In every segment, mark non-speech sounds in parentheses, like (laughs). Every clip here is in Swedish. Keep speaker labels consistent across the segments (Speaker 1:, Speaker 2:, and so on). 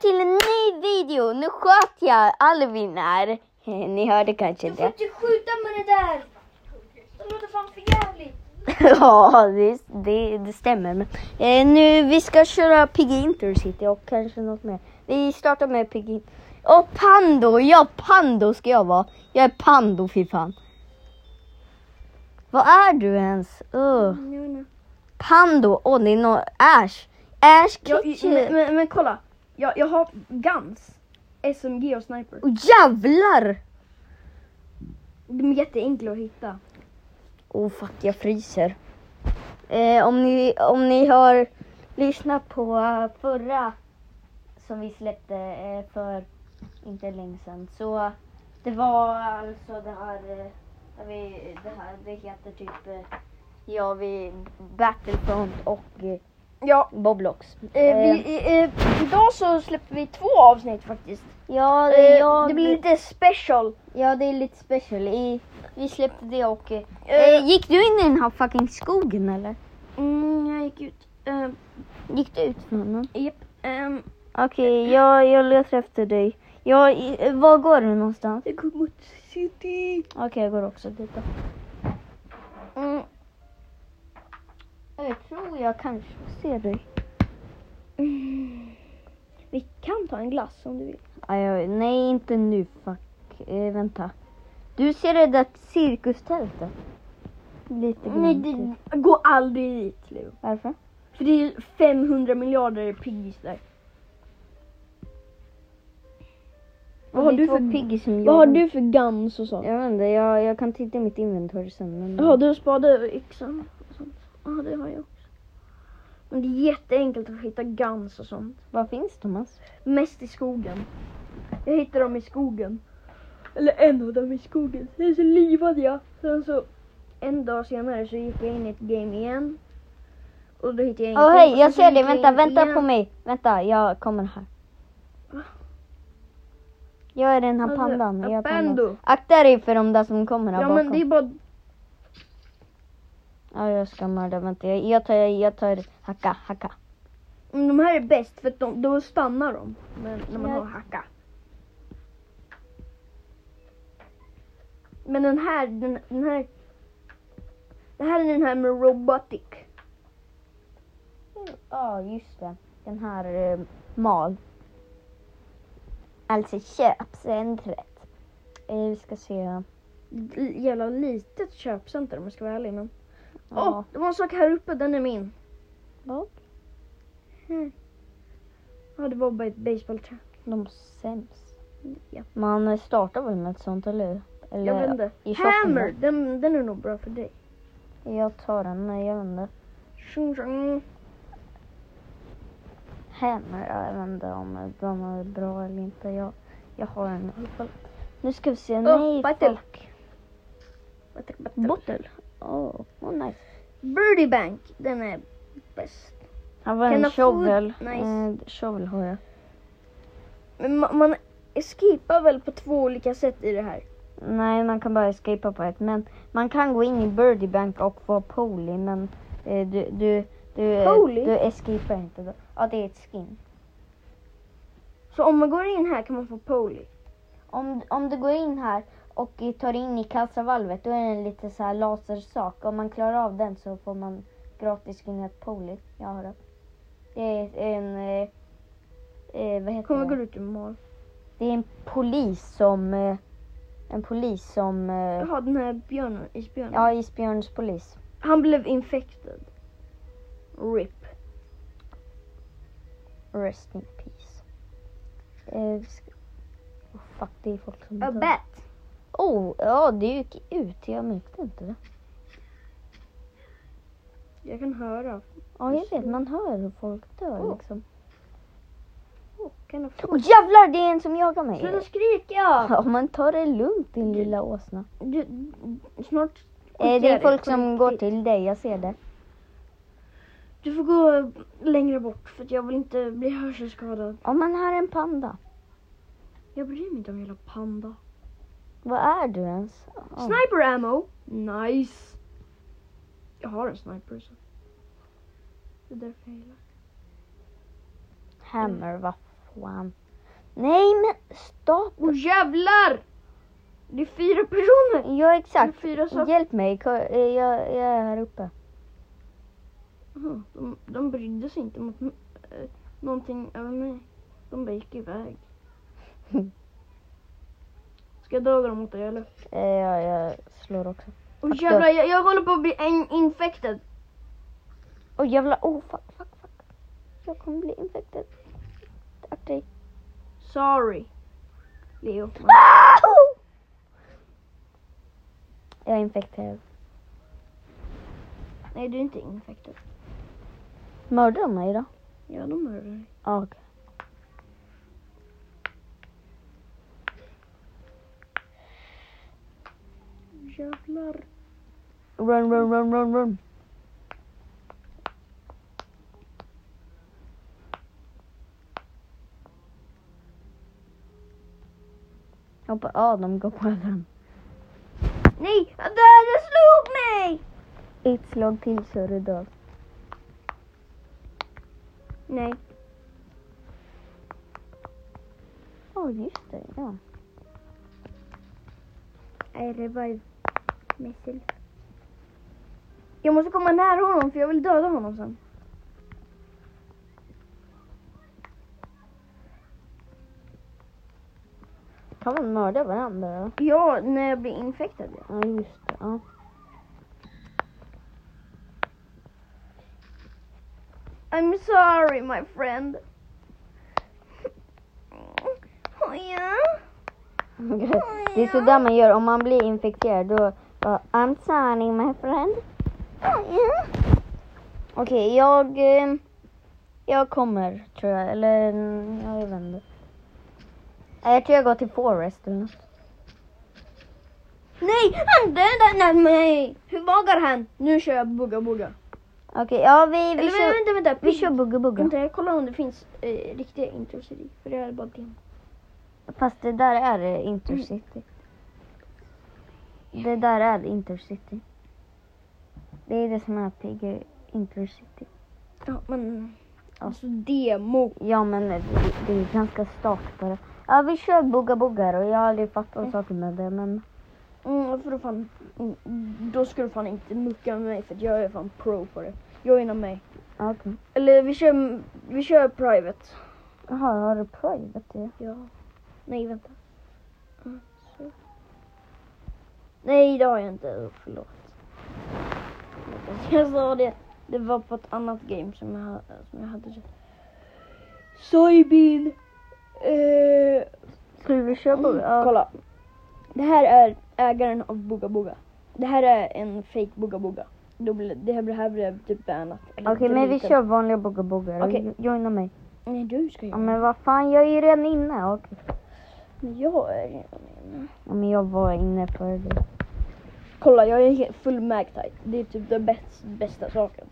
Speaker 1: till en ny video! Nu sköt jag Alvin här. Eh, Ni hörde kanske
Speaker 2: Du får
Speaker 1: det.
Speaker 2: inte skjuta med det där! Det låter fan för jävligt.
Speaker 1: (laughs) ja, det, det, det stämmer. Men, eh, nu, vi ska köra Piggy Intercity och kanske något mer. Vi startar med Piggy. Och Pando! Ja, Pando ska jag vara. Jag är Pando, fy fan. Vad är du ens? Uh. Pando! Åh, det är någon... Ash! Ash
Speaker 3: Jag,
Speaker 1: Ketchum!
Speaker 3: men, men, men kolla, jag, jag har guns, SMG och sniper.
Speaker 1: Åh, jävlar!
Speaker 3: De är jätteenkla att hitta.
Speaker 1: Oh fuck, jag fryser. Eh, om, ni, om ni har lyssnat på eh, förra som vi släppte eh, för inte länge sedan. Så det var alltså det här, eh, där vi, det, här det heter typ eh, ja, vi Battlefront och eh,
Speaker 3: Ja,
Speaker 1: Boblox.
Speaker 3: eh, vi, eh, idag så släpper vi två avsnitt faktiskt.
Speaker 1: ja,
Speaker 3: Eh,
Speaker 1: jag,
Speaker 3: Det blir lite special.
Speaker 1: ja, det är lite special. I, vi släppte det och... Eh,
Speaker 3: Eh,
Speaker 1: eh, gick du in i den här fucking skogen eller?
Speaker 3: Mm, jag gick ut. Eh,
Speaker 1: Gick du ut från den?
Speaker 3: japp. Ehm,
Speaker 1: Okej, jag, jag letar efter dig. Jag, i- var går du någonstans?
Speaker 3: jag går mot city.
Speaker 1: Okej, jag går också dit då.
Speaker 3: Mm,
Speaker 1: Jag tror jag kanske ser dig.
Speaker 3: vi kan ta en glass om du vill.
Speaker 1: Aj, aj, nej, inte nu. Fuck. Eh, vänta. Du ser det där cirkustältet? Lite
Speaker 3: Nej,
Speaker 1: grann.
Speaker 3: det,
Speaker 1: typ.
Speaker 3: gå aldrig dit Leo.
Speaker 1: Varför?
Speaker 3: För det är 500 miljarder piggis där. Vad har
Speaker 1: Det är
Speaker 3: du
Speaker 1: två
Speaker 3: för-
Speaker 1: piggy som
Speaker 3: Vad har
Speaker 1: jag-
Speaker 3: du för guns och sånt?
Speaker 1: Jag vet inte, jag, jag kan titta i mitt inventory sen. Men...
Speaker 3: Jaha, du har spade och yxan och sånt. Ja, det har jag också. Men det är jätteenkelt att hitta guns och sånt.
Speaker 1: Var finns Thomas?
Speaker 3: Mest i skogen. Jag hittar dem i skogen. Eller en av dem i skogen. Sen så livade jag. Sen så en dag senare så gick jag in i ett game igen. Och då hittade jag
Speaker 1: Åh
Speaker 3: ingenting. Och
Speaker 1: hej,
Speaker 3: sen
Speaker 1: jag
Speaker 3: så
Speaker 1: ser
Speaker 3: gick
Speaker 1: dig.
Speaker 3: jag
Speaker 1: Vänta,
Speaker 3: in
Speaker 1: vänta
Speaker 3: igen.
Speaker 1: på mig. Vänta, jag kommer här. Jag är den här
Speaker 3: Alltså,
Speaker 1: pandan. Jag är
Speaker 3: Apendo.
Speaker 1: pandan. Akta dig för de där som kommer här
Speaker 3: Ja
Speaker 1: bakom.
Speaker 3: men det är bara...
Speaker 1: Ja, jag ska mörda. Vänta, jag, jag tar, jag tar hacka, hacka.
Speaker 3: mm, De här är bäst för att de, då stannar de. Men när man
Speaker 1: Jag-
Speaker 3: har hacka. Men den här, den, den här... Det här är den här med robotic.
Speaker 1: Ja, just det. Den här eh, mal. Alltså köpcentret. Eh, vi ska se.
Speaker 3: L- Jävla litet köpcenter om jag ska vara ärlig men. Åh,
Speaker 1: Ja.
Speaker 3: det var en sak här uppe, den är min. Hm.
Speaker 1: Vad?
Speaker 3: Ja, det var bara ett basebollträ.
Speaker 1: De sämst.
Speaker 3: Ja.
Speaker 1: Man startar väl med ett sånt, eller hur? Eller
Speaker 3: Jag vet inte.
Speaker 1: i shopping,
Speaker 3: Hammer, den, den är nog bra för dig.
Speaker 1: Jag tar den, nej jag vet inte.
Speaker 3: Tjong, tjong.
Speaker 1: Hammer, jag vet inte om de är bra eller inte. Jag, jag har en. Nu ska vi se. nej,
Speaker 3: battle.
Speaker 1: fuck.
Speaker 3: Battle, battle.
Speaker 1: Bottle? Åh, oh, nice.
Speaker 3: Birdie Bank, den är bäst.
Speaker 1: Här var
Speaker 3: Can
Speaker 1: en
Speaker 3: I food?
Speaker 1: shovel.
Speaker 3: Nice.
Speaker 1: Eh, shovel har jag.
Speaker 3: Men man, man escapar väl på två olika sätt i det här.
Speaker 1: Nej, man kan bara escapa på ett. Men man kan gå in i Birdie Bank och få Poly, men eh, du, du, du, eh,
Speaker 3: Poly?
Speaker 1: du escapar inte. Då. Ja, det är ett skin.
Speaker 3: Så om man går in här kan man få poly.
Speaker 1: Om, om du går in här och eh, tar in i kassavalvet, då är det en lite så här lasersak. Om man klarar av den så får man gratis skinnet Poly. Jag har det. Det är en... Eh, eh, vad heter
Speaker 3: Kommer
Speaker 1: det?
Speaker 3: gå ut ur mål.
Speaker 1: Det är en polis som... Eh, en polis som... Eh,
Speaker 3: Jaha, den här björnen, isbjörnen.
Speaker 1: ja, isbjörnspolis.
Speaker 3: Han blev infected. RIP.
Speaker 1: Rest in peace. Eh, vi ska... oh, fuck, det är folk som
Speaker 3: A
Speaker 1: dör.
Speaker 3: bat.
Speaker 1: Oh, ja, det gick ut. Jag märkte inte det.
Speaker 3: Jag kan höra.
Speaker 1: Ja, jag vet. Man hör hur folk dör
Speaker 3: Oh.
Speaker 1: liksom.
Speaker 3: Oh, kan jag få?
Speaker 1: Oh, jävlar, det är en som jagar mig.
Speaker 3: Sluta skrika!
Speaker 1: Ja, man tar det lugnt din lilla åsna.
Speaker 3: Du, snart
Speaker 1: Eh, det
Speaker 3: skjuter
Speaker 1: är
Speaker 3: jag dig
Speaker 1: folk
Speaker 3: på
Speaker 1: som
Speaker 3: riktigt.
Speaker 1: går till dig, jag ser det.
Speaker 3: Du får gå längre bort för att jag vill inte bli hörselskadad.
Speaker 1: Om man har en panda.
Speaker 3: Jag bryr mig inte om hela panda.
Speaker 1: Vad är du ens? Ja.
Speaker 3: Sniper ammo. Nice. Jag har en sniper så. Det är därför jag gillar.
Speaker 1: Hammer, vad One. Nej men stopp!
Speaker 3: Och jävlar! Det är fyra personer!
Speaker 1: Ja exakt.
Speaker 3: Det är fyra saker.
Speaker 1: Hjälp mig, ko- eh, jag, jag är här uppe.
Speaker 3: Jaha, De, de brydde sig inte mot eh, någonting över mig. De bara gick (laughs) iväg. Ska jag döda dem åt dig eller?
Speaker 1: Eh, ja, jag slår också.
Speaker 3: Åh
Speaker 1: Akta.
Speaker 3: jävlar, jag, jag håller på att bli in- infected.
Speaker 1: Åh jävlar, oh fuck, fuck, fuck. Jag kommer bli infekterad. Akta dig.
Speaker 3: Sorry. Leo.
Speaker 1: Au! Jag är infekterad.
Speaker 3: Nej du är inte infected.
Speaker 1: Mördar de mig då?
Speaker 3: Ja de mördade dig.
Speaker 1: Ja, okej.
Speaker 3: Jävlar.
Speaker 1: Run, run, run, run, run. Jag hoppar av, de går på den.
Speaker 3: Nej! jag dör, Jag slog mig!
Speaker 1: Ett slag till så är du död.
Speaker 3: Nej.
Speaker 1: Ja, just det. Ja.
Speaker 3: I revive myself. Jag måste komma nära honom för jag vill döda honom sen.
Speaker 1: Kan man mörda varandra då?
Speaker 3: Ja, när jag blir infected. Ja.
Speaker 1: Ja, just det. (laughs) Ja.
Speaker 3: I'm sorry my friend. Oh, yeah.
Speaker 1: Det är sådär man gör om man blir infekterad. Då, bara, I'm sorry my friend.
Speaker 3: Oh,
Speaker 1: Okej, jag... eh, Jag kommer, tror jag. Eller, mm, ja, jag vet inte. Nej, Jag tror jag går till Forest eller något.
Speaker 3: Nej, han dödade mig! Hur vågar han? Nu kör jag bugga bugga.
Speaker 1: Okej, ja vi, vi
Speaker 3: Eller vänta,
Speaker 1: kör...
Speaker 3: vänta, vänta.
Speaker 1: Vi kör bugga bugga.
Speaker 3: Vänta, jag kollar om det finns eh, riktiga intros i det, För det är bara din.
Speaker 1: Fast det där är eh, Intercity. Det där är Intercity. Det är det som är pigg Intercity.
Speaker 3: Ja, men... Alltså demo.
Speaker 1: Ja men det, det är ganska starkt bara. Ja vi kör bugga bugga då. Jag har aldrig fattat saker med det men.
Speaker 3: Mm, för då fan... Mm, Då ska du fan inte mucka med mig för att jag är fan pro på det. Joina mig.
Speaker 1: ja, Okej.
Speaker 3: Eller vi kör, vi kör private.
Speaker 1: Jaha, har du private det?
Speaker 3: Ja. Nej, vänta. Mm, så. Nej, det har jag inte. Förlåt. Jag sa det. Det var på ett annat game som jag, ha- som jag hade. Soybean. Eh,
Speaker 1: Ska vi köra bugga? Ja.
Speaker 3: Kolla. Det här är ägaren av Boga Boga. Det här är en fake Boga Boga. Då blir- Det här blev- det här blev typ bannat. eller
Speaker 1: Okej men vi
Speaker 3: deleted.
Speaker 1: kör vanliga bugga bugga då.
Speaker 3: Okej.
Speaker 1: Joina mig.
Speaker 3: Nej, du ska
Speaker 1: Ja
Speaker 3: göra
Speaker 1: men vad fan jag är ju redan inne. Okej.
Speaker 3: Men jag är redan inne.
Speaker 1: Ja, men jag var inne före dig.
Speaker 3: Kolla, jag är helt full magtight. Det är typ den bäst, bästa saken.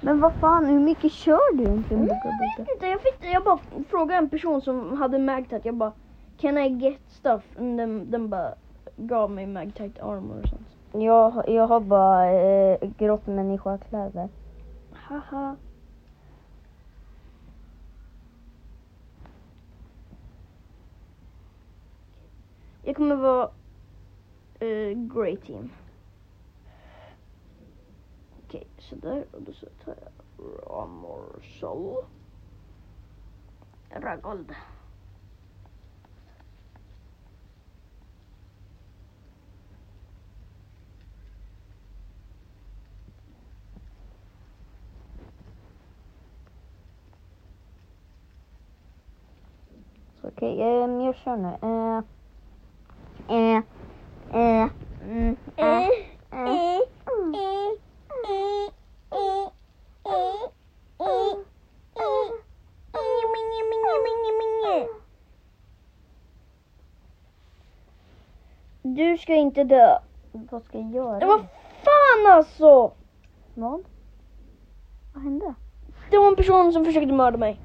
Speaker 1: Men vad fan hur mycket kör du egentligen bugga
Speaker 3: Jag
Speaker 1: bugga?
Speaker 3: vet inte, jag, fick, jag bara frågade en person som hade magtight. Jag bara, can I get stuff? Och Den, den bara gav mig magtight armor och sånt.
Speaker 1: Jag, jag har bara eh, grått människakläder.
Speaker 3: Haha. Jag kommer vara uh, Grey Team. Okej, sådär. Och då så tar jag Ramorsol. Ragold.
Speaker 1: Så Okej, ehm, jag kör nu. Eh, eh, eh, mm, eh, eh.
Speaker 3: Du ska inte dö.
Speaker 1: Eh, Vad ska jag göra?
Speaker 3: Men Vad fan alltså!
Speaker 1: Vad? Vad hände?
Speaker 3: Det var en person som försökte mörda mig.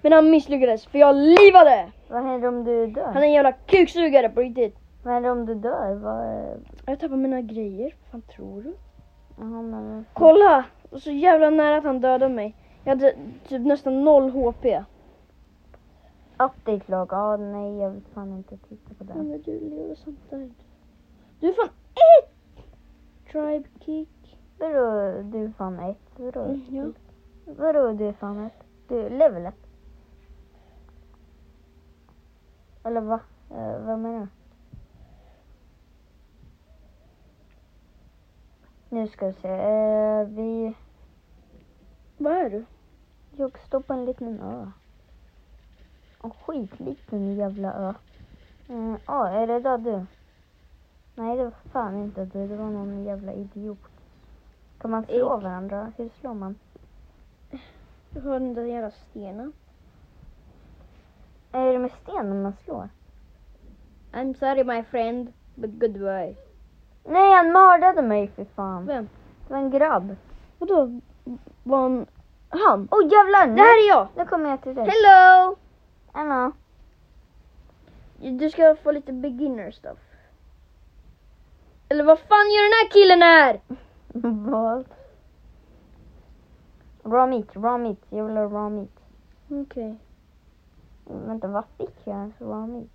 Speaker 3: Men han misslyckades för jag livade!
Speaker 1: Vad händer om du dör?
Speaker 3: Han är en jävla kuksugare på riktigt.
Speaker 1: Vad händer om du dör? Vad... eh,
Speaker 3: Jag tappar mina grejer. Vad fan tror du?
Speaker 1: Jaha, men...
Speaker 3: Kolla! Så jävla nära att han dödade mig. Jag hade typ nästan noll HP.
Speaker 1: update lag. Ja, nej, jag vill fan inte titta på den.
Speaker 3: Men du lever sånt där. Du är fan ett! Tribe kick.
Speaker 1: Vadå, du är fan ett? Vadå,
Speaker 3: Mm, ja.
Speaker 1: vadå du är fan ett? Du, level ett. Eller va? Eh, vad menar du? Nu ska vi se. Eh, vi...
Speaker 3: Vad är du?
Speaker 1: Jag står på en liten ö. En skitliten jävla ö. Mm, ah, är det där du? Nej, det var fan inte du. Det var någon jävla idiot. Kan man slå varandra? Hur slår man?
Speaker 3: Du har den där jävla stenen.
Speaker 1: Är det med stenen man slår?
Speaker 3: I'm sorry my friend, but goodbye.
Speaker 1: Nej, han mördade mig för fan.
Speaker 3: Vem?
Speaker 1: Det var en grabb.
Speaker 3: Vadå? Var han... Han?
Speaker 1: Åh oh, jävlar!
Speaker 3: Det här är jag!
Speaker 1: Nu kommer jag till dig.
Speaker 3: Hello!
Speaker 1: Emma.
Speaker 3: Du ska få lite beginner stuff. Eller vad fan gör den här killen här?
Speaker 1: (laughs) Vad? Raw meat, raw meat. Jag vill ha raw meat.
Speaker 3: Okej.
Speaker 1: Vänta, vad fick jag ens raw meat?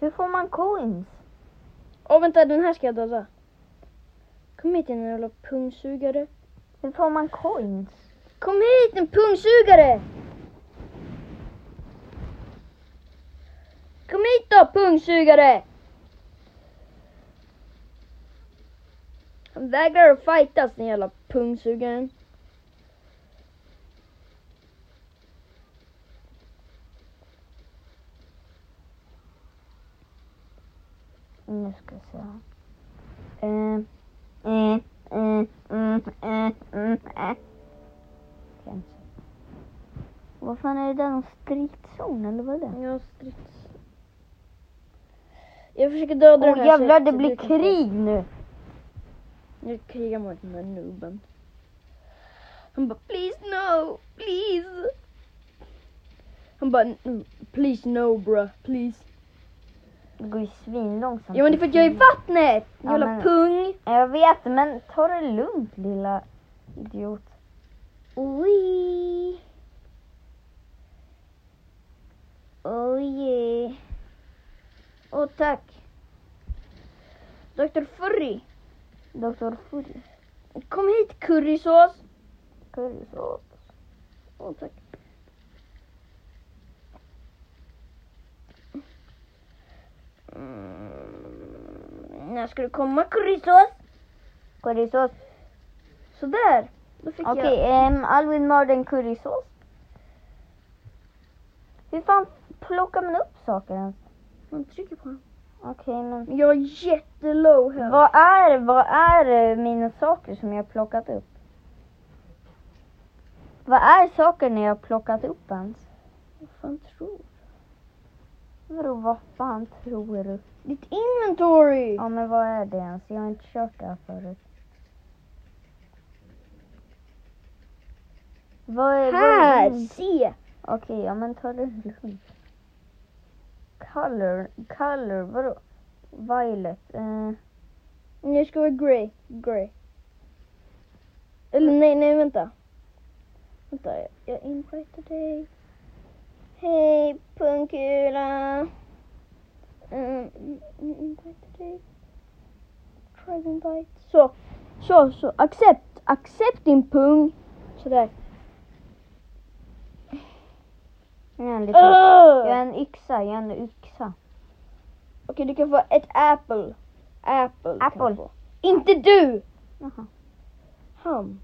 Speaker 1: Hur får man coins?
Speaker 3: Åh vänta, den här ska jag döda. Kom hit din jävla pungsugare.
Speaker 1: Hur får man coins?
Speaker 3: Kom hit en pungsugare! Kom hit då pungsugare! Han vägrar att fightas den jävla pungsugaren.
Speaker 1: Nu ska vi se. Eh, eh, eh, mm, eh, mm, eh. Kanske. Vad fan är det där? Någon stridszon eller vad är det?
Speaker 3: Jag har strids. Jag försöker döda
Speaker 1: Åh
Speaker 3: den här så-
Speaker 1: jävlar, det
Speaker 3: så
Speaker 1: blir
Speaker 3: du kan få-
Speaker 1: krig nu!
Speaker 3: Nu krigar mot den här nooben. Han bara please no, please. Han bara "Mm, please no bro, please.
Speaker 1: Det går ju svinlångsamt.
Speaker 3: Ja men det är för att jag är i vattnet!
Speaker 1: Ja,
Speaker 3: Jävla
Speaker 1: men-
Speaker 3: pung.
Speaker 1: Jag vet, men ta det lugnt lilla idiot.
Speaker 3: Oi.
Speaker 1: Oh yeah. Åh tack,
Speaker 3: Dr Furry.
Speaker 1: Dr. Furry.
Speaker 3: Kom hit currysås.
Speaker 1: Currysås.
Speaker 3: Åh tack. Mm, när ska du komma currysås?
Speaker 1: Currysås.
Speaker 3: Sådär. Då fick
Speaker 1: Okej,
Speaker 3: jag.
Speaker 1: ehm, Alvin mördade en currysås. Hur fan plockar man upp saker ens?
Speaker 3: Man trycker på den.
Speaker 1: Okej, men
Speaker 3: Jag har jättelow health.
Speaker 1: vad är, vad är eh, mina saker som jag har plockat upp? Vad är sakerna jag har plockat upp ens?
Speaker 3: Vad fan tror du?
Speaker 1: Vadå, vad fan tror du?
Speaker 3: Ditt inventory!
Speaker 1: Ja, men vad är det ens? Jag har inte kört det här förut. Vad är, vad är
Speaker 3: Här!
Speaker 1: din-
Speaker 3: Se!
Speaker 1: Okej, ja men ta det lugnt. Color, color, vadå? Violet, eh,
Speaker 3: Nu ska vara grey. Grey. Eller nej, nej vänta. Vänta, jag, jag invitar dig. Hej pungkula. Um, inviter dig. Try invite. Så, så, så. Accept, accept din pung. Sådär.
Speaker 1: jag är en liten, jag är
Speaker 3: Öh!
Speaker 1: en yxa, jag är en yxa. (laughs)
Speaker 3: Okej, du kan få ett apple. Apple. kan
Speaker 1: Apple.
Speaker 3: du få. Inte du!
Speaker 1: Jaha.
Speaker 3: Han.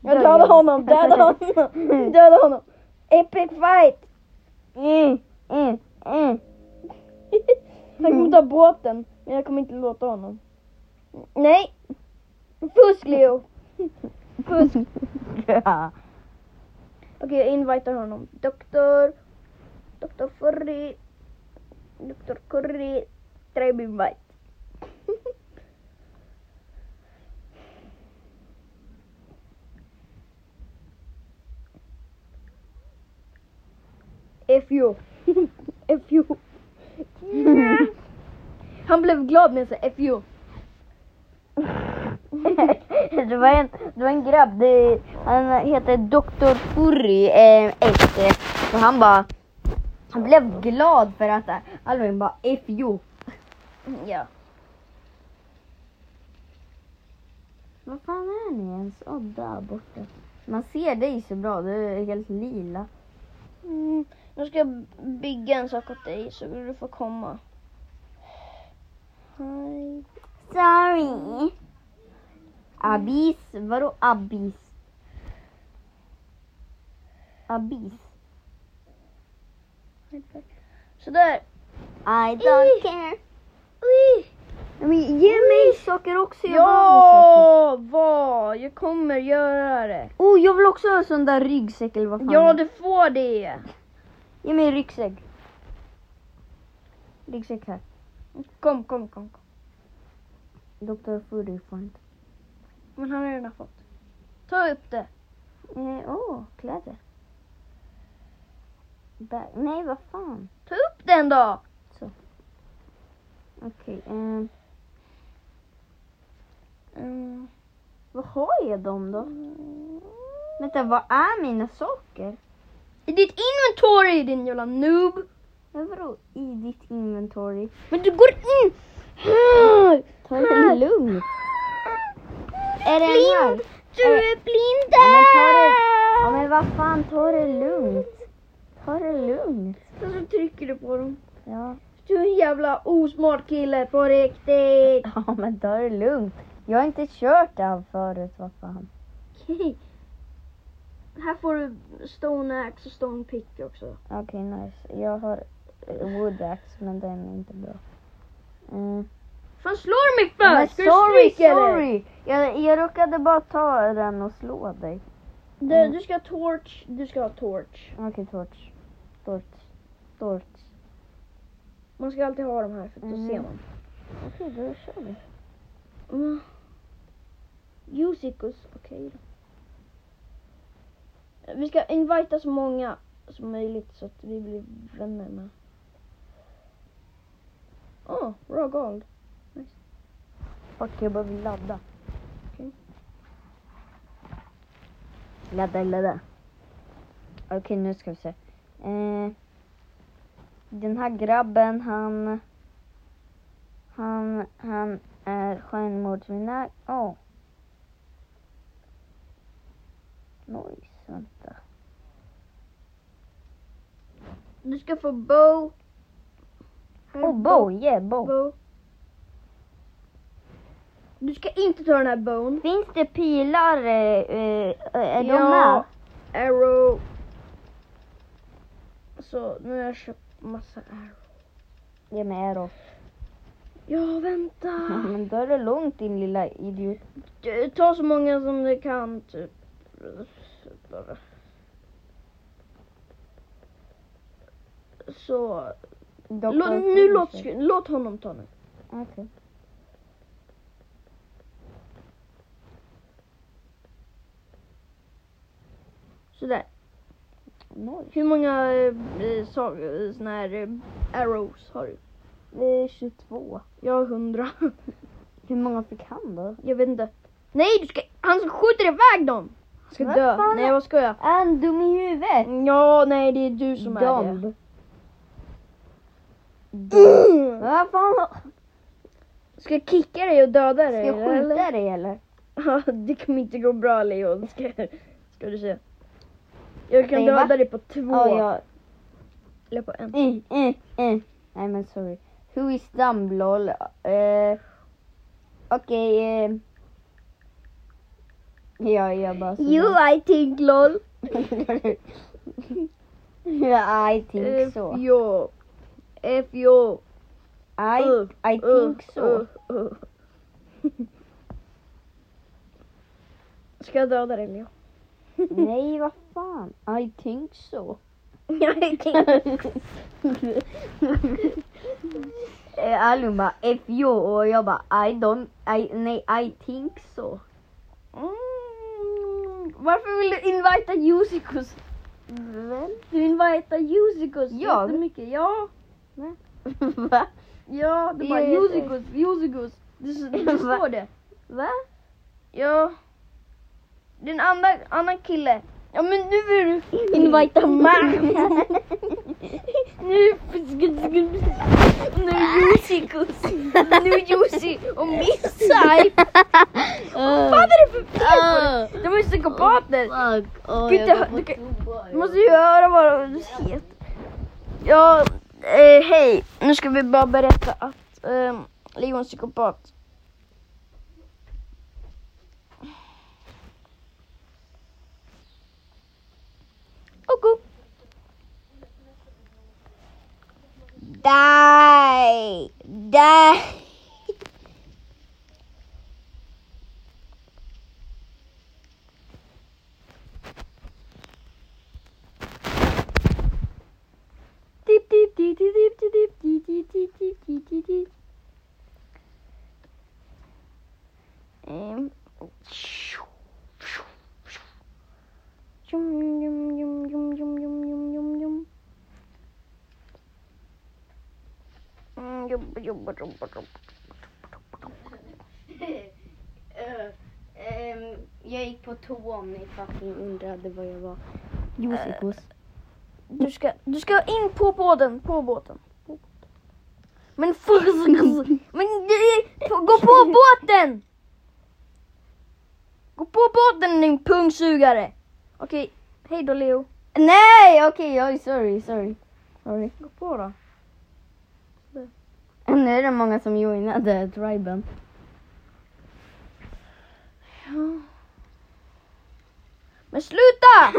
Speaker 3: Jag
Speaker 1: Döda
Speaker 3: dödade
Speaker 1: honom.
Speaker 3: honom, döda honom, (laughs) döda honom. Epic fight!
Speaker 1: Mm, mm, mm.
Speaker 3: (laughs) Han kommer ta båten, men jag kommer inte låta honom. Nej!
Speaker 1: (laughs)
Speaker 3: Fusk Leo! Fusk! Okej,
Speaker 1: Ja.
Speaker 3: jag invitar honom. Doktor... Doktor Furry... Doktor Curry... Tribe invite. (laughs) F you. (laughs) F you. Han blev glad när jag sa F you.
Speaker 1: Det var en, det var en grabb, det, han heter Dr. Furry eh, ett, eh, och han bara, han blev glad för att eh, Alvin bara FU. Ja. Vad fan är ni ens? Åh, där borta. Man ser dig så bra, du är helt lila.
Speaker 3: Mm, nu ska jag bygga en sak åt dig så du får komma. Hej.
Speaker 1: Sorry. Abis? Vadå abis? Abis?
Speaker 3: Sådär.
Speaker 1: I don't care. Men ge mig saker också, jag behöver saker.
Speaker 3: Ja, vad? Jag kommer göra det.
Speaker 1: Oh, jag vill också ha en sån där ryggsäck eller vad fan
Speaker 3: Ja,
Speaker 1: det
Speaker 3: du får det.
Speaker 1: är. Ge mig en ryggsäck. Ryggsäck här.
Speaker 3: Kom, kom, kom. kom.
Speaker 1: Dr. Furry får inte.
Speaker 3: Men han har redan fått. Ta upp det.
Speaker 1: Eh, oh, kläder. Bag. Nej, vad fan.
Speaker 3: Ta upp den då.
Speaker 1: Okej, ehm,
Speaker 3: Mm.
Speaker 1: vad har jag dem då? Vänta, vad är mina saker?
Speaker 3: I ditt inventory din jävla noob.
Speaker 1: Men vadå i ditt inventory?
Speaker 3: Men du går in.
Speaker 1: Ta det lugnt. Är det en här?
Speaker 3: Blind. Du är blind
Speaker 1: Ja, men ta det, ja, men vad fan, ta det lugnt. Ta det lugnt.
Speaker 3: Och så trycker du på dem.
Speaker 1: Ja. (laughs)
Speaker 3: Du är en jävla osmart kille på riktigt.
Speaker 1: ja, men ta det lugnt. Jag har inte kört det här förut, vad fan.
Speaker 3: Okej. Här får du stone axe och stone pick också.
Speaker 1: Okej, nice. Jag har eh, wood axe, men den är inte bra. Mm.
Speaker 3: Fan slår du mig för?
Speaker 1: Men
Speaker 3: Ska du
Speaker 1: sorry,
Speaker 3: stryka
Speaker 1: sorry! Jag, jag råkade bara ta den och slå dig.
Speaker 3: dig? Du, du ska ha torch, du ska ha torch.
Speaker 1: Okej, torch. Torch. Torch.
Speaker 3: Man ska alltid ha de här för då
Speaker 1: Mm.
Speaker 3: ser man.
Speaker 1: Okej, då kör vi.
Speaker 3: Mm. Jusicus, okej då. Vi ska invita så många som möjligt så att vi blir vänner med. Åh, oh, raw gold.
Speaker 1: Fuck, jag behöver ladda.
Speaker 3: Okej.
Speaker 1: Ladda, ladda. Okej, nu ska vi se. Eh, den här grabben, han... Han, han är självmordsvinär. Åh. Oh. Noise, vänta.
Speaker 3: Du ska få bow. Här är
Speaker 1: Oh, bow, yeah, bow.
Speaker 3: bow. Du ska inte ta den här bone.
Speaker 1: Finns det pilar? Eh, eh, är de
Speaker 3: Ja.
Speaker 1: med?
Speaker 3: Arrow. Så nu har jag köpt massa arrow.
Speaker 1: Ge mig arrow.
Speaker 3: Ja, vänta.
Speaker 1: (laughs) Ja, men då är det långt din lilla idiot.
Speaker 3: Du, Ta så många som du kan, typ. Bara. Så.
Speaker 1: Dock
Speaker 3: Lå,
Speaker 1: har jag
Speaker 3: nu
Speaker 1: två
Speaker 3: låt,
Speaker 1: stycken.
Speaker 3: sku- låt honom ta nu.
Speaker 1: Okej.
Speaker 3: Sådär.
Speaker 1: Noll.
Speaker 3: Hur många eh, så, eh, såna här eh, arrows har du?
Speaker 1: Det är 22.
Speaker 3: Jag har hundra. (laughs)
Speaker 1: Hur många fick han då?
Speaker 3: Jag vet inte. Nej, du ska, han som skjuter iväg dem! Han ska
Speaker 1: Vad
Speaker 3: dö.
Speaker 1: fan
Speaker 3: Nej,
Speaker 1: är-
Speaker 3: vad ska jag?
Speaker 1: Är han dum i huvudet?
Speaker 3: Ja, nej, det är du som är det.
Speaker 1: Dom. Vad fan?
Speaker 3: Ska jag kicka dig och döda
Speaker 1: Ska
Speaker 3: dig?
Speaker 1: jag skjuta dig eller?
Speaker 3: (laughs) Ja, det kommer inte gå bra Leon, ska, ska du se. Jag kan
Speaker 1: Nej,
Speaker 3: döda
Speaker 1: va?
Speaker 3: dig på två,
Speaker 1: Ja, ja.
Speaker 3: eller på en.
Speaker 1: Mm, mm, mm. Nej men sorry. Who is dumb lol? Eh, Okej. eh. Ja, jag bara
Speaker 3: I think lol.
Speaker 1: (laughs) yeah, I
Speaker 3: Eh,
Speaker 1: think so.
Speaker 3: yo. F yo.
Speaker 1: I,
Speaker 3: Uh,
Speaker 1: I think so.
Speaker 3: Uh, uh. ska jag döda dig Leon? Mm.
Speaker 1: Nej, vad fan. I think (laughs) so.
Speaker 3: I
Speaker 1: Eh, Alun bara F you och jag bara I don't, I, nej I think so. (laughs)
Speaker 3: Mm, varför vill du invita Jusicus?
Speaker 1: Väl?
Speaker 3: Du invitar Jusicus
Speaker 1: Jag?
Speaker 3: jättemycket. Ja.
Speaker 1: Va?
Speaker 3: Ja, du
Speaker 1: Det
Speaker 3: bara
Speaker 1: är-
Speaker 3: (laughs) Jusicus, Jusicus. Det, det
Speaker 1: Va?
Speaker 3: står det.
Speaker 1: Va?
Speaker 3: Ja. Det är en annan, annan kille. Ja men nu är du...
Speaker 1: Invita man!
Speaker 3: Nu... Nu Jussi Kussi. Nu Jussi och Missai. Vad fan är det för fel på dig? De är ju psykopater. Kan inte hö- du kan- Du måste ju höra vad du heter. Ja, eh, hej. Nu ska vi bara berätta att eh, Leo är en psykopat. Oko.
Speaker 1: Die! Die!
Speaker 3: Dip, dip, dip, dip, dip, dip, dip, dip, dip, dip, dip, dip, dip. Ehm. Tjum, tjum, tjum, tjum, tjum, tjum, tjum, tjum, tjum. Mm, jobba, jobba, jobba, jobba.
Speaker 1: Ehm, jag gick på toa om ni fucking undrade vad jag var. Josikos.
Speaker 3: Du ska, du ska in på båten, på båten. på båten. Men för... Men det- gå på båten! Gå på båten din pungsugare! Okej, hej då Leo.
Speaker 1: Eh, Nej, okej, oj, sorry, sorry. Sorry.
Speaker 3: Gå på då.
Speaker 1: Nu är det många som joinade (laughs) triben.
Speaker 3: Men sluta!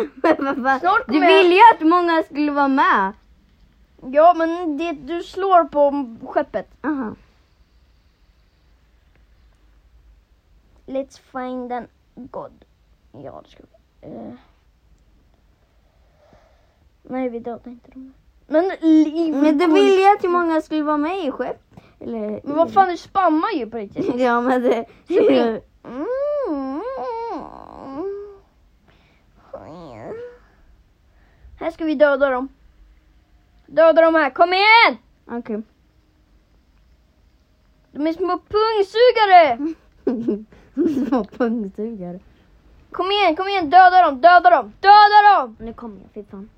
Speaker 3: Snart
Speaker 1: du
Speaker 3: kommer jag-
Speaker 1: ville ju att många skulle vara med.
Speaker 3: Ja men det, du slår på skeppet.
Speaker 1: Aha.
Speaker 3: Let's find an god. Ja det ska vi. Eh. Nej vi dödar inte dem. Men, li-
Speaker 1: Men du ville ju att många skulle vara med i skepp. Eller...
Speaker 3: Men vad fan du spammar ju på
Speaker 1: (laughs)
Speaker 3: riktigt.
Speaker 1: Ja men (laughs) det...
Speaker 3: Här ska vi döda dem. Döda dem här, kom igen!
Speaker 1: Okej. (laughs)
Speaker 3: De är små pungsugare!
Speaker 1: Små pungsugare.
Speaker 3: Kom igen, kom igen, döda dem, döda dem, döda dem!
Speaker 1: Nu kommer jag, fittan.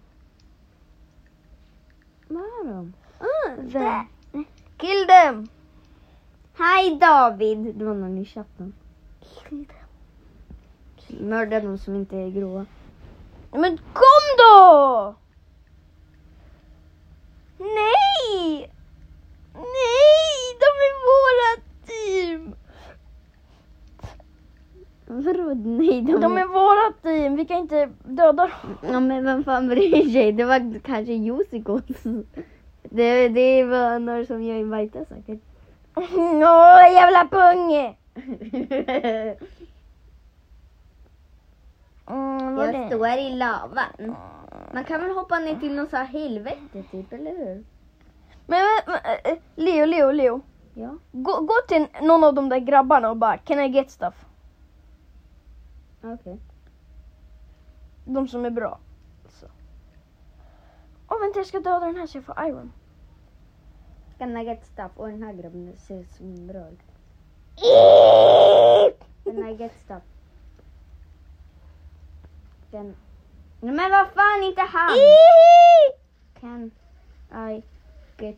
Speaker 1: Vad är de? Ah,
Speaker 3: Där. Kill dem!
Speaker 1: Hej David! Det var någon i chatten. Mörda de som inte är gråa.
Speaker 3: Men kom då! Nej! Nej, de är våra team!
Speaker 1: Vadå nej? De,
Speaker 3: De är våra team, vi kan inte döda dem.
Speaker 1: Ja men vem fan bryr sig? Det var kanske Josikos. Det, det var några som jag invitade (laughs) säkert.
Speaker 3: Mm, Åh, jävla punge! Mm, vad
Speaker 1: jag
Speaker 3: det?
Speaker 1: står i lavan. Man kan väl hoppa ner till någon så här helvete typ, eller hur?
Speaker 3: Men, men, men eh, Leo, Leo, Leo.
Speaker 1: Ja.
Speaker 3: Gå, gå till någon av de där grabbarna och bara Can I get stuff?
Speaker 1: Okej.
Speaker 3: De som är bra. Så. Åh vänta jag ska döda den här så jag får iron. (laughs)
Speaker 1: Can I get stuff? Och den här grabben ser som bra ut. Can I get stuff? Can... Nej men vad fan inte han! Can I get...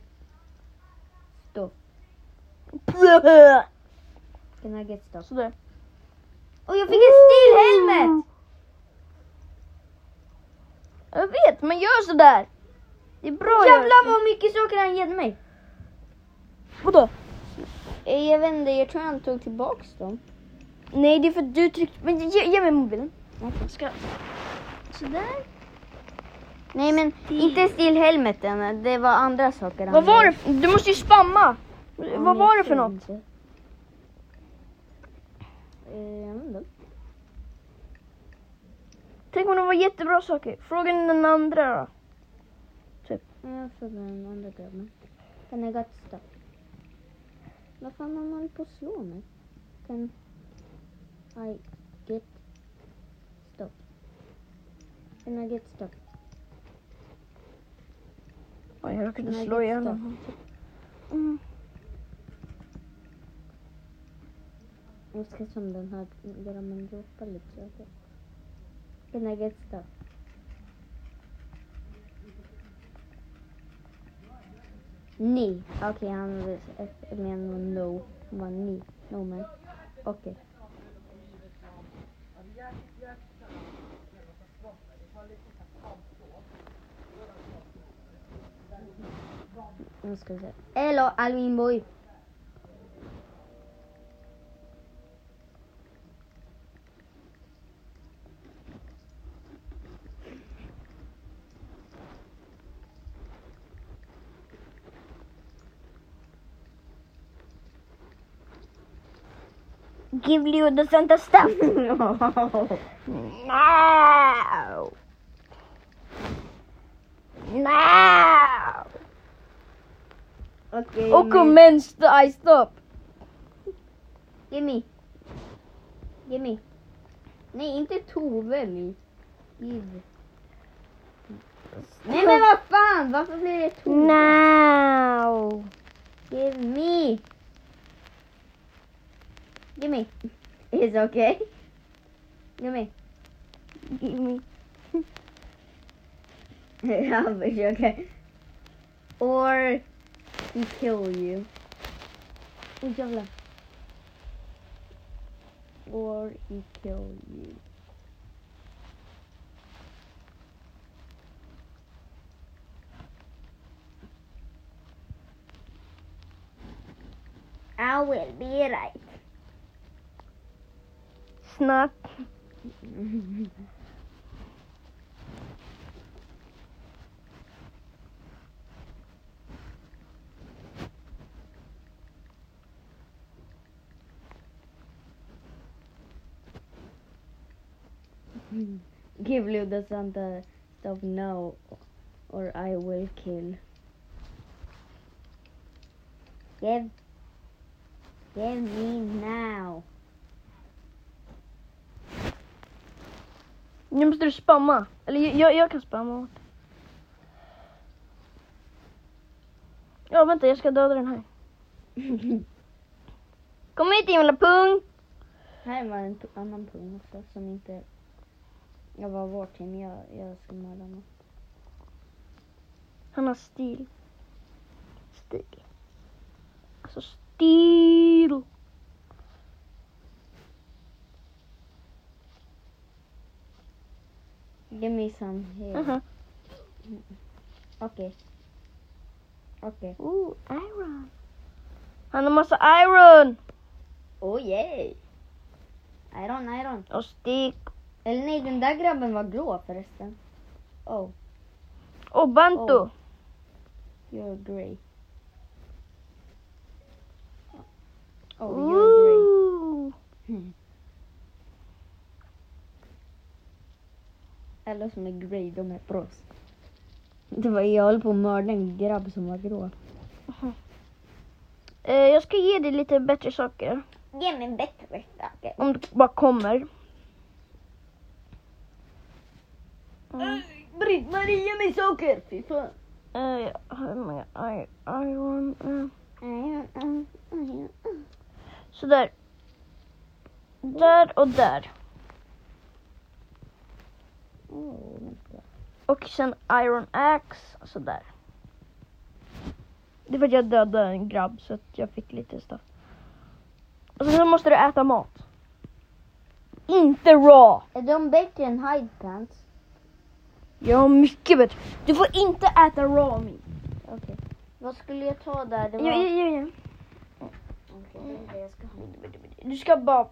Speaker 1: Can I get stuff?
Speaker 3: Sådär.
Speaker 1: Och jag fick en stilhelmet!
Speaker 3: Jag vet men gör sådär. Det är bra
Speaker 1: Jävlar vad mycket saker han gett mig!
Speaker 3: Vadå?
Speaker 1: Eh, Jag vet inte, jag tror han tog tillbaks dem.
Speaker 3: Nej det är för att du tryckte. Men ge, ge mig mobilen.
Speaker 1: Okej.
Speaker 3: Ska... Sådär.
Speaker 1: Nej men inte stilhelmeten, eh, det var andra saker han
Speaker 3: Vad var
Speaker 1: gjorde.
Speaker 3: det? för- Du måste ju spamma. Vad var det för något?
Speaker 1: Eh,
Speaker 3: Tänk om det var jättebra saker. Fråga den andra då.
Speaker 1: jag frågar den andra grabben. Kan jag gott stopp? Vad fan har han hållit på att slå mig? Kan I get stopp? Can I get stopp?
Speaker 3: Oj, jag råkade
Speaker 1: Nej,
Speaker 3: slå ihjäl
Speaker 1: just det. Mm.
Speaker 3: honom.
Speaker 1: Eh, Jag ska som den här, göra min gropa lite så jag kan... Can I get stuff? Ni. Okej, han menar no. Han var ni. No men. Okej. Nu ska vi se. Hello Alvin boy. Give you the Santa stuff. (laughs) no. No. Okay.
Speaker 3: Och commence the I stop.
Speaker 1: Gimme. Gimme. Nej, inte Tove mi. Give. Nej men vad fan, varför blir det Tove? No. Give me. Gimme. It's okay. Gimme. (laughs) Gimme. Han försöker. Or he kill you. Åh jävlar. Or he kill you. I will be right.
Speaker 3: Snart.
Speaker 1: (laughs) Give you the Santa stuff now, or I will kill. Give, give me now. (laughs)
Speaker 3: Nu måste du spamma. Eller jag- jag, jag kan spamma åt dig. Ja vänta jag ska döda den här. Kom hit jävla pung!
Speaker 1: Här var en p- annan pung också som inte... Jag var vår team, jag, jag ska mörda honom.
Speaker 3: Han har stil. Stil. Alltså stil.
Speaker 1: Give me some here.
Speaker 3: Mhm.
Speaker 1: Okej. Okej.
Speaker 3: Ooh, iron. Han har massa iron.
Speaker 1: Oh yay! Iron, iron.
Speaker 3: Och stick.
Speaker 1: Eller nej, den där grabben var grå förresten. Oh,
Speaker 3: Och bantu.
Speaker 1: Oh. you're grey. Oh, you're grey.
Speaker 3: Ooh.
Speaker 1: Alla som är grey, de är proffs. Det var jag höll på att mörda en grabb som var grå.
Speaker 3: Eh, jag ska ge dig lite bättre saker.
Speaker 1: Ge mig bättre saker.
Speaker 3: Om du bara kommer.
Speaker 1: Eh,
Speaker 3: Mm.
Speaker 1: Britt-Marie, ge mig saker! Fy fan.
Speaker 3: Eh, jag har många i- iron. eh. Sådär. Där och där.
Speaker 1: Oh, vänta.
Speaker 3: Och sen iron axe. Sådär. Det är för att jag dödade en grabb så att jag fick lite stuff. Och sen så måste du äta mat. Inte raw.
Speaker 1: Är de bättre än hide pants?
Speaker 3: Jag har mycket bättre. Du får inte äta raw meat.
Speaker 1: Okej. Vad skulle jag ta där? Det var...
Speaker 3: Jo, jo, jo, jo.
Speaker 1: Okej, det är det jag ska ha.
Speaker 3: Du ska bara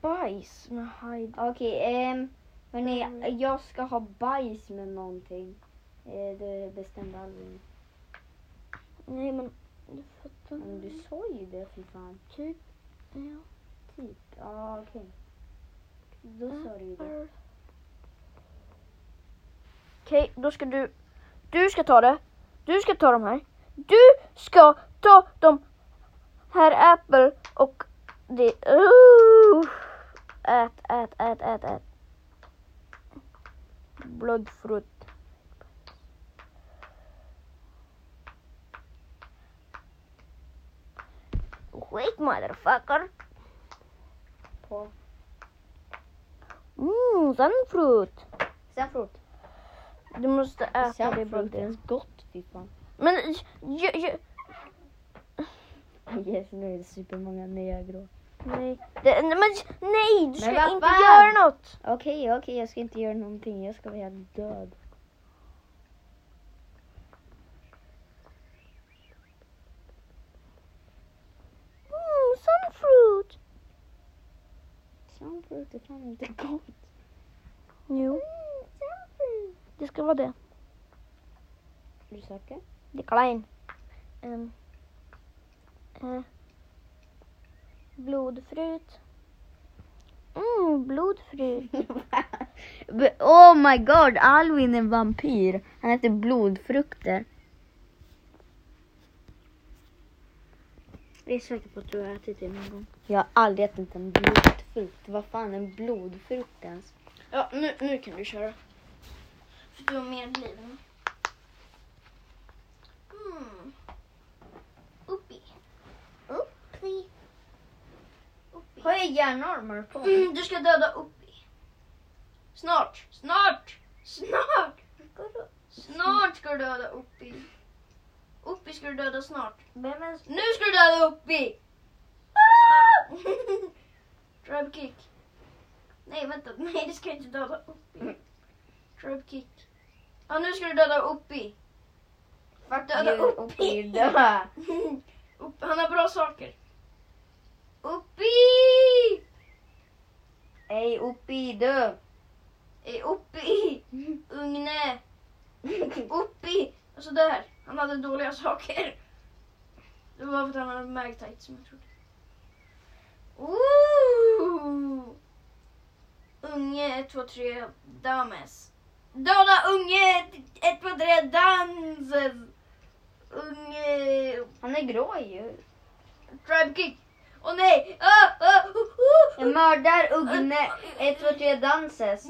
Speaker 3: bajs med hide.
Speaker 1: Okej, ehm, hörni, jag ska ha bajs med någonting. Eh, det bestämde Alvin.
Speaker 3: Nej men du fattar
Speaker 1: Men du sa ju det för fan. Typ,
Speaker 3: Ja.
Speaker 1: typ. Ja, okej. Då sa du ju det.
Speaker 3: Okej, då ska du... Du ska ta det. Du ska ta de här. Du ska ta de här Apple och det... Uh, ät, ät, ät, ät, ät. Bloodfruit. Wait motherfucker.
Speaker 2: på.
Speaker 1: Mm, sunfruit.
Speaker 2: Saffrot.
Speaker 3: Du måste äta det
Speaker 1: Sunfruit
Speaker 3: Baldur.
Speaker 1: är gott fy fan. (laughs)
Speaker 3: Men jag, jag,
Speaker 1: Yes, nu är det supermånga nya grå.
Speaker 3: nej. Det, nej, men nej, du ska
Speaker 2: vad
Speaker 3: inte
Speaker 2: fan?
Speaker 3: göra något.
Speaker 1: Okej, okej, jag ska inte göra någonting. Jag ska vara helt död.
Speaker 3: Mm, sunfruit.
Speaker 1: Sunfruit är fan inte gott.
Speaker 3: Jo. Mm, Det ska vara det.
Speaker 1: Är du säker?
Speaker 3: Det är klein. Um, eh, blodfrut. Mm, blodfrut.
Speaker 1: But, (laughs) oh my god, Alvin är en vampyr. Han äter blodfrukter.
Speaker 2: Jag är säker på att du har ätit det någon gång.
Speaker 1: Jag har aldrig ätit en blodfrukt. Vad fan är en blodfrukt ens?
Speaker 3: Ja, nu, nu kan du köra. För du har mer liv än mig. Mm. Uppi. Uppi. Har jag järnarmar på mig? Mm, du ska döda Uppi. Snart, snart, snart. Snart ska du döda Uppi. Uppi ska du döda snart.
Speaker 1: Vem är
Speaker 3: Nu ska du döda Uppi! Ah! Drive kick. Nej vänta, (laughs) nej du ska inte döda Uppi. Drive kick. Ja nu ska du döda Uppi. Vart döda
Speaker 1: Gud,
Speaker 3: Uppi?
Speaker 1: Uppi, dö.
Speaker 3: (laughs) Upp- Han har bra saker. Uppi!
Speaker 1: Hej Oppi, dö!
Speaker 3: Eh, Uppi! Ugne! Uppi! Alltså där, han hade dåliga saker. Det var för att han hade magtight som jag trodde. Ooh! Unge 1, 2, 3, dames. Döda unge 1, 2, 3, danses! Unge...
Speaker 1: Han är grå ju.
Speaker 3: Drive kick! Åh nej! Ah, ah, oh, oh.
Speaker 1: Jag mördar Ugne. 1, 2, 3, danses.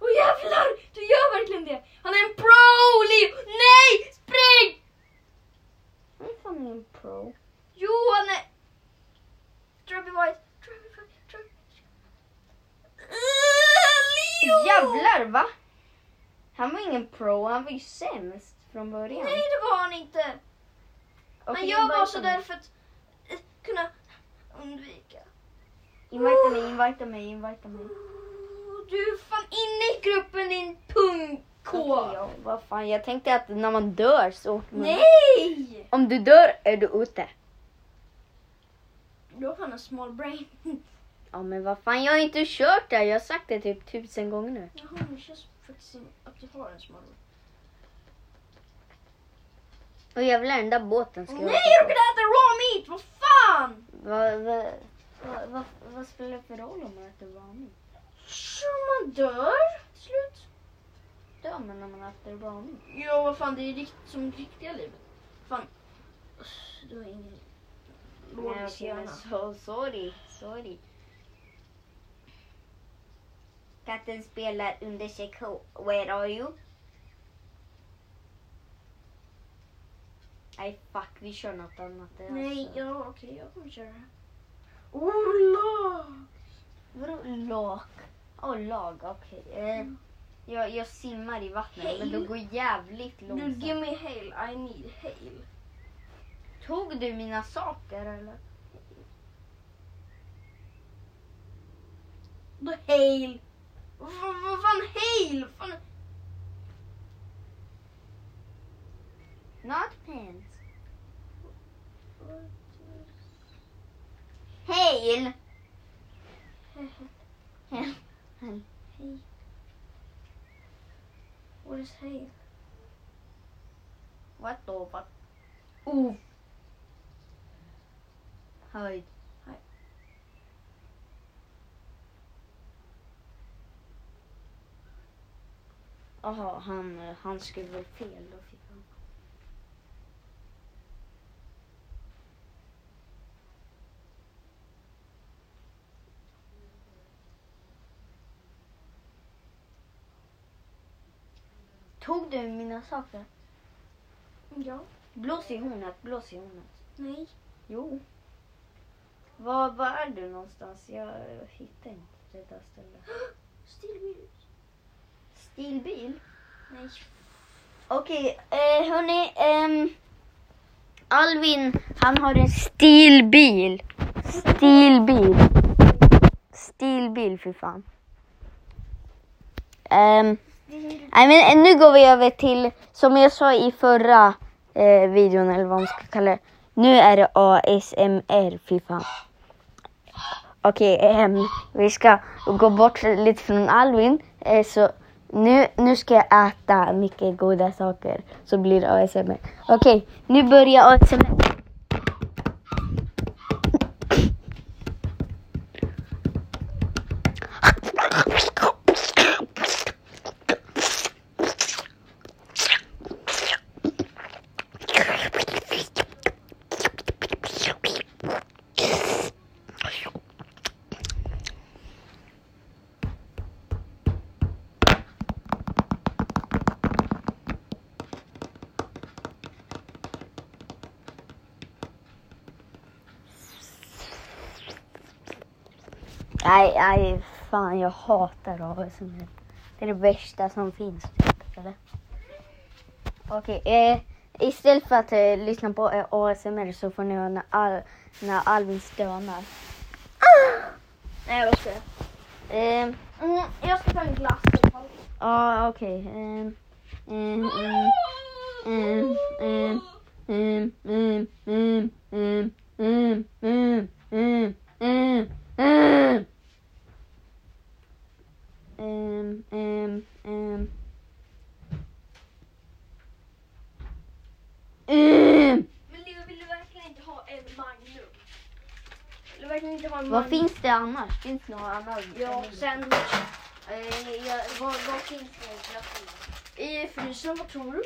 Speaker 3: Åh jävlar! Du gör verkligen det! Han är en pro! Leo! Nej! Spring!
Speaker 1: Han är fan ingen pro.
Speaker 3: Jo, han är... Drabby White! Drabby White! Drabby... Uh, Leo!
Speaker 1: Jävlar va? Han var ingen pro, han var ju sämst från början.
Speaker 3: Nej, det var han inte!
Speaker 1: Okej,
Speaker 3: Men jag var
Speaker 1: invita
Speaker 3: sådär
Speaker 1: mig.
Speaker 3: för att eh, kunna undvika.
Speaker 1: Invita mig, invita mig, invita mig.
Speaker 3: Ooh, Du är fan inne i gruppen din pungk!
Speaker 1: Okej, ja, vad fan, jag tänkte att när man dör så åker
Speaker 3: Mm.
Speaker 1: man...
Speaker 3: Nej!
Speaker 1: Om du dör är du ute.
Speaker 3: Du har fan en small brain.
Speaker 1: Ja men vad fan, jag har inte kört det här. Jag har sagt det typ tusen gånger nu.
Speaker 3: Jaha, det känns faktiskt som att du har en small brain.
Speaker 1: Och jävlar den där båten ska
Speaker 3: Nej, jag kan äta raw meat! Vad fan!
Speaker 1: Vad vad- vad- vad- vad spelar det för roll om man äter ramen?
Speaker 3: Så man dör till slut.
Speaker 1: Dör man när man äter ramen?
Speaker 3: Ja, vad fan, det är rikt, som riktiga livet. Fan. Usch, Du har ingen logisk
Speaker 1: okej, men
Speaker 3: hjärna.
Speaker 1: so, Oh, sorry, sorry. Katten spelar under sig ko- Where are you? Nej fuck, vi kör något annat. Det är
Speaker 3: Nej,
Speaker 1: alltså-
Speaker 3: ja okej, jag kommer köra. Ola!
Speaker 1: Vadå lak? Åh, lag, okej. Eh,
Speaker 3: Mm.
Speaker 1: jag, jag simmar i vattnet men det
Speaker 3: Hail.
Speaker 1: går jävligt
Speaker 3: Du,
Speaker 1: långsamt.
Speaker 3: give me hail, I need hail.
Speaker 1: Tog du mina saker eller?
Speaker 3: Då hail! Vad fan, vad fan hail? Fan.
Speaker 1: Not pants. Hail!
Speaker 3: What is hail?
Speaker 1: What the fuck? Oh! Höjd. Jaha, han, eh, han skrev väl fel då fick han. Tog du mina saker?
Speaker 3: Ja,
Speaker 1: Blås i hornet, blås i hornet.
Speaker 3: nej.
Speaker 1: Jo. Var, var är du någonstans? Jag hittar inte det där stället.
Speaker 2: Stillbild.
Speaker 1: Stilbil?
Speaker 2: Nej.
Speaker 1: Okej, eh, hörni. ehm, Alvin, han har en stilbil. Stilbil. Stilbil, fy fan. Ehm, Nej men eh, nu går vi över till, som jag sa i förra eh, videon eller vad man ska kalla det. Nu är det ASMR, fy fan. Okej, ehm, vi ska gå bort lite från Alvin. Eh, så nu, nu ska jag äta mycket goda saker så blir det ASMR. Okej, nu börjar ASMR. Nej, nej, fan jag hatar ASMR. Det är det värsta som finns. Typ, eller? Okej, eh, istället för att eh, lyssna på eh, ASMR så får ni höra när, Al- när Alvin stönar.
Speaker 2: Nej, vad ska jag?
Speaker 1: Ehm,
Speaker 2: Mm, jag ska ta en glass.
Speaker 1: Ja, okej. Ehm, ehm,
Speaker 3: Mm.
Speaker 1: ehm, ehm, ehm, ehm, ehm, ehm, ehm, ehm, ehm, ehm, ehm. Ehm, ehm, ehm. Ehm.
Speaker 2: Men Leo, vill du verkligen inte ha en Magnum? Vill du verkligen inte ha en
Speaker 1: Vad
Speaker 2: Magnum?
Speaker 1: finns det annars? Finns det något annat?
Speaker 2: Ja, sen
Speaker 1: Eh, ja, vad, vad finns det i glassen?
Speaker 2: i frysen, vad tror du?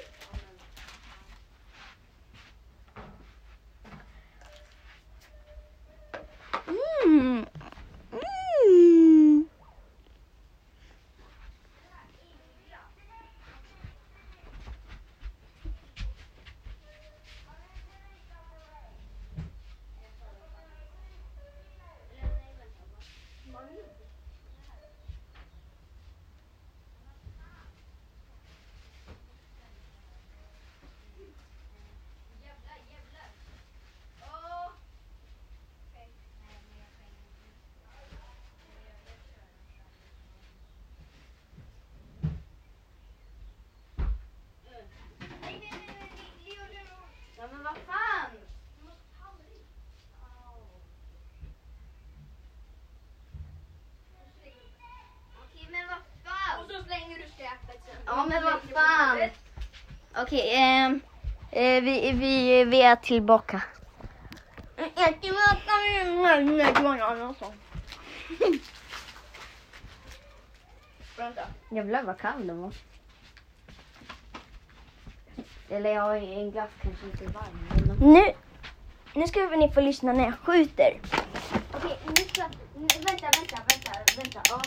Speaker 1: Mm. Mm. Ja, men vad fan! Okej, men vad fan!
Speaker 2: så slänger du skräpet sen.
Speaker 1: Ja, men vad fan! Okej, ehm, eh, vi, vi, vi är tillbaka.
Speaker 2: Jag ska möta min Nej, det var en annan sång. Vänta.
Speaker 1: Jävlar vad kall den var. Eller ja, en glass kanske inte är varm. men-
Speaker 2: Nu, nu ska ni få lyssna när jag skjuter.
Speaker 1: Okej, nu ska... nu- Vänta, vänta, vänta, vänta. Ja.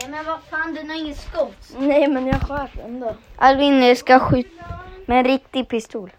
Speaker 1: Nej men vad fan, den har ingen skott.
Speaker 2: Nej, men jag sköt ändå.
Speaker 1: Alvin ska skjuta med en riktig pistol.